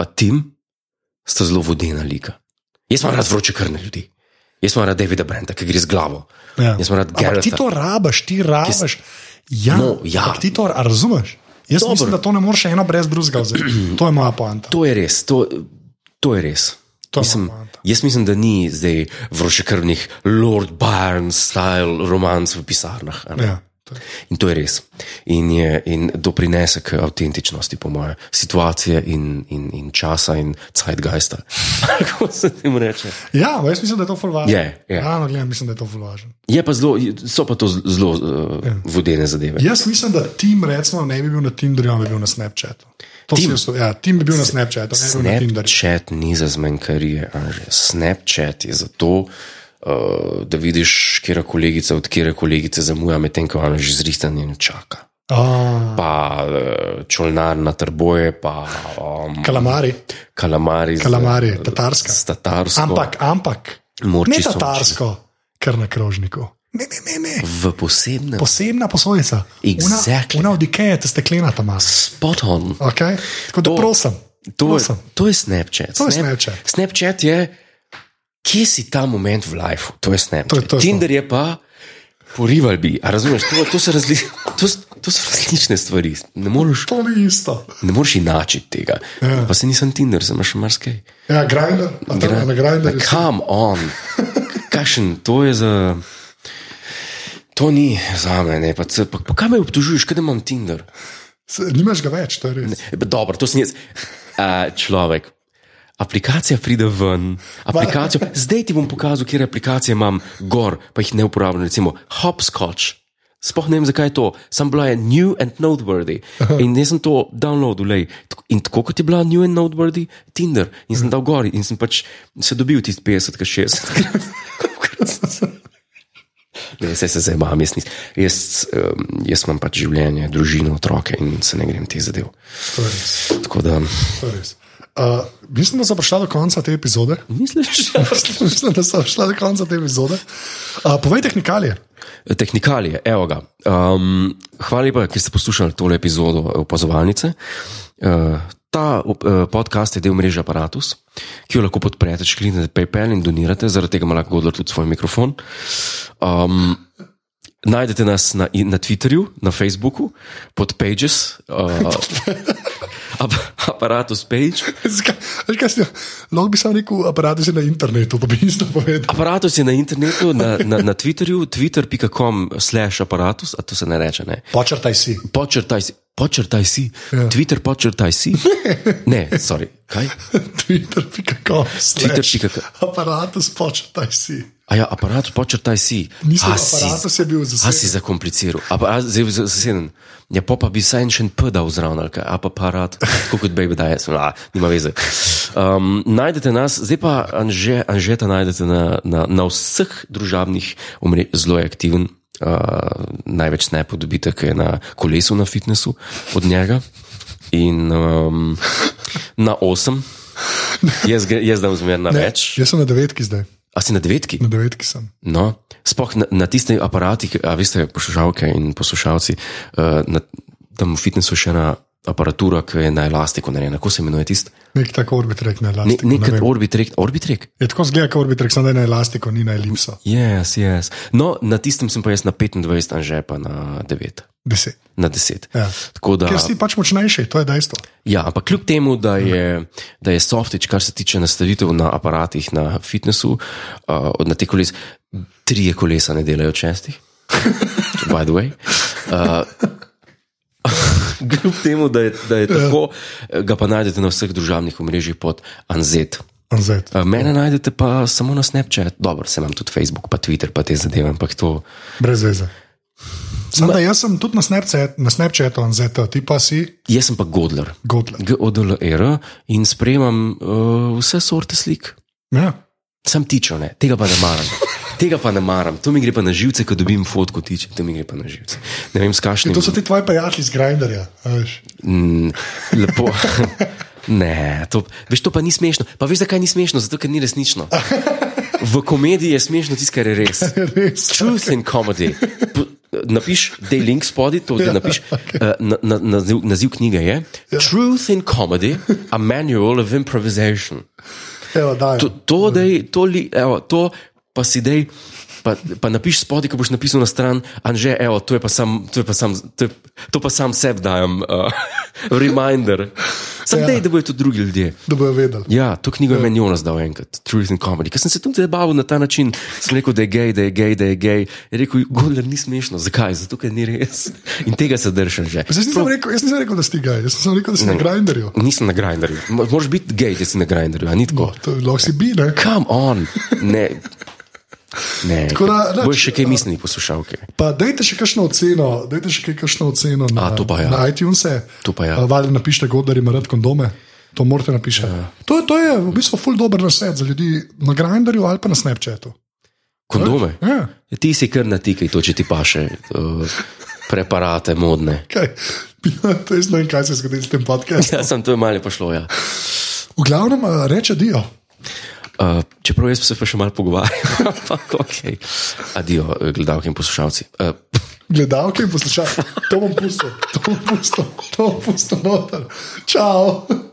in Tim sta zelo vodena lika. Jaz imam rad vroče krvne ljudi. Jaz imam rad Davida Brenta, ki gre z glavo. Ja. Jaz imam rad Ampak ti Garretta. to rabaš, ti rabaš. Ja, No, ja. ampak Ti to a razumeš. Jaz Dobar. mislim, da to ne moreš eno brez drugega vzeti. To je moja poanta. To je res, to, to je res. To je mislim, moja poanta. jaz mislim, da ni zdaj vročekrvnih Lord Byron style romanc v pisarnah. a ne. Ja, In to je res. In, je, in doprinese k avtentičnosti, po mojem, situacije in, in, in časa in zeitgeista. Kako se temu reče? Ja, jaz mislim, da je to fulvažno. Je, je. Ravno gledam, mislim, da je to fulvažno. Je pa zelo, so pa to zelo uh, Ja. vodene zadeve. Jaz mislim, da tim, recimo, ne bi bil na Tinderju, ampak bi bil na Snapchatu. To Tim? si jaz- Ja, tim bi bil na Snapchatu, ne bi bil na Tinderju. Snapchat ni za zmanjkarije, Anže. Snapchat je zato, uh, da vidiš, kje je kolegica, od kje je kolegica zamuja, medtem ko ona že zrihtanjem čaka. Ah, Pa uh, čolnar na trboje, pa um, Kalamari, kalamari. z- Kalamari, tatarska. S tatarsko. ampak, ampak, Morči ne so tatarsko, kar na krožniku. Ne, ne, ne, ne. v posebnem. Posebna posodica. Una- Exactly. Una od Ikeje, te steklena tam imaš. Spot on. Okay? Tako da To- prosim. To je, prosim. to je Snapchat. To je Snap- Snapchat. Snapchat je, kje si ta moment v lifeu, to je Snapchat. To je- to je to. Tinder je pa. Porival bi, a razumeš, to, to, so razli, to, s- to so različne stvari, ne moreš, To ni isto. ne moreš enačiti tega. Ja. Pa se nisem Tinder, sem še marsikaj. Ja, grinder, a tam na grinderju. si- Kam on, kašen, to je za. To ni za me, ne pa, c- pa, pa kaj me obtožuješ, kaj da imam Tinder. se- Nimaš ga več, to je res. Dobro, to sem jaz. Uh, človek. Aplikacija pride ven, aplikacijo, zdaj ti bom pokazal, kje aplikacije imam gor, pa jih ne uporabljam, recimo Hopscotch. Sploh ne vem, zakaj je to, sem bila je new and noteworthy. In jaz sem to downloadil, lej. in tako kot je bila new and noteworthy, Tinder, in sem dal gor in sem pač se dobil tisti 50, 60. Ne, saj se zdaj imam, jaz, nis- jaz, em, jaz imam pač življenje, družino, otroke in se ne grem te zadev. To je res. Tako da, To je res. Uh, mislim, da so prišla do konca te epizode. misliš, mislim, da so prišla do konca te epizode. Uh, povej tehnikalije. Tehnikalije, evo ga. Um, hvala lepa, ker ste poslušali tole epizodo opazovalnice. Uh, ta uh, podcast je del mreže Apparatus, ki jo lahko podprete, če kliknete PayPal in donirate, zaradi tega ima lahko odlor tudi svoj mikrofon. Um, Najdete nas na, i- na Twitterju, na Facebooku, pod Pages, uh, ap, aparatus Page. Zakaj- veš kaj si- Lahko bi samo rekel, aparat je na internetu, to bi isto povedal. Aparatus je na internetu, na, na, na Twitterju, twitter.com/slash aparatus, a to se ne reče, ne. Počrtaj si. Počrtaj si, počrtaj si. Ja. Ja. Twitter, počrtaj si. Ne, sorry. Kaj? Twitter.com. Twitter.com. Aparatus počrtaj si. A ja, aparat, počrtaj si. Mislim, A si- aparatus je bil A si zaseden. zakompliciral, a pa a zdaj za- zaseden. Ja, pa pa bi saj en še en P dal zraven, ali kaj, a pa parat, tako kot baby daje, a, nima veze. Um, najdete nas, zdaj pa Anže, Anžeta najdete na, na, na vseh družabnih omrežjih, zelo je aktiven. Uh, največ ne podobite, ki je na kolesu na fitnessu od njega in um, na osem. Jaz, gre- jaz dam zmerno več. Jaz sem na devetki zdaj, A si na devetki? na devetki sem. No, spoh na, na tistih aparatih, a veste, poslušalke in poslušalci, uh, na, tam v fitnessu še ena aparatura, ki je na elastiku narejena. Kako se imenuje tisti? Nek tako orbitrek na Ne, elastiku. ne Nekaj vem. orbitrek. orbitrek? Je tako zgleda, kot orbitrek, samo da je na elastiku, ni na elipso. Yes, yes. No, na tistem sem pa jaz na 25, anže pa na 9, Deset. na 10. Ja. Tako da, Ker si pač močnejši, to je dejstvo. ja, ampak kljub temu, da je, da je softič, kar se tiče nastavitev na aparatih, na fitnessu, uh, na te koles, trije kolesa ne delajo čestih. by the way. Uh, Kljub temu, da je, da je tako, ga pa najdete na vseh družabnih omrežjih pod Anzet. Anzet. Eh, Mene najdete pa samo na Snapchat, dobro, se imam tudi Facebook, pa Twitter, pa te zadeve, ampak to. Brez veze. Sam, da, jaz sem tudi na Snapchat- na Snapchatu, Anzeta, ti pa si Jaz sem pa Godler, Godler. GODLR E in sprejemam uh, vse sorte slik. Ja. Sam tičo, ne, tega pa ne maram. Tega pa ne maram, to mi gre pa na živce, ko dobim fotko tiče, to mi gre pa na živce. Ne vem, s kakšnim. To so ti tvoji prijatelji iz Grinderja. a veš. Mm, lepo. Ne, to, veš, to pa ni smešno. Pa veš, zakaj ni smešno? Zato, ker ni resnično. V komediji je smešno tisto, kar je res. Res. Truth in comedy. P- Napiš, da je link spodaj, to Ja, zdaj napiš. Eh, Na, na, naziv, naziv knjige je Truth in Comedy, a manual of improvisation. Evo, daj. To, to, dej, to, li, evo, to pa si dej. Pa, pa napiš spodaj, ko boš napisal na stran, Anže, evo, to je pa sam, to je pa sam, to, je, to pa sam sebi dajem, uh, eh, reminder. Sam Ja. dej, da bojo to drugi ljudje. da bojo vedeli. Ja, to knjigo je meni Jonas dal enkrat, Truth in Comedy. Ker sem se tudi zabaval na ta način, sem rekel, da je gej, da je gej, da je gej. Je rekel, Gondor ni smešno, zakaj? Zato, ker ni res. In tega se držim že. Jaz nisem, rekel, jaz nisem rekel, da si gej, jaz sem rekel, da si na grinderju. Nisem na grinderju. Mo- Moraš biti gej, da si na grinderju, a ni tako. No, to Lahko si bi, ne? Come on, ne. Ne, Tako da, nič, boš še kaj mislili poslušalke. Pa dajte še kakšno oceno, dajte še kaj kakšno oceno na, A, to pa ja. na iTunese. To pa ja. Valjda napišite, kdo ima rad kondome. To morate napisati. Ja. To, to je v bistvu ful dober nasvet za ljudi na Grinderju ali pa na Snapchatu. Kondome. Ja, Ti si kar na tikaj, to če ti paše. Uh, preparate modne. kaj. Ja, To je zdaj, kaj se je zgodilo s tem podcastom. Ja, sem to je malo pošlo, ja. V glavnem eh, reče Dio. Uh, čeprav jaz se pa še malo pogovarjam, ampak ok. Adijo, eh, gledalke in poslušalci. Uh, Gledalke in poslušalke, to bom pusto, to bom pusto, to bom pusto noter. Čau.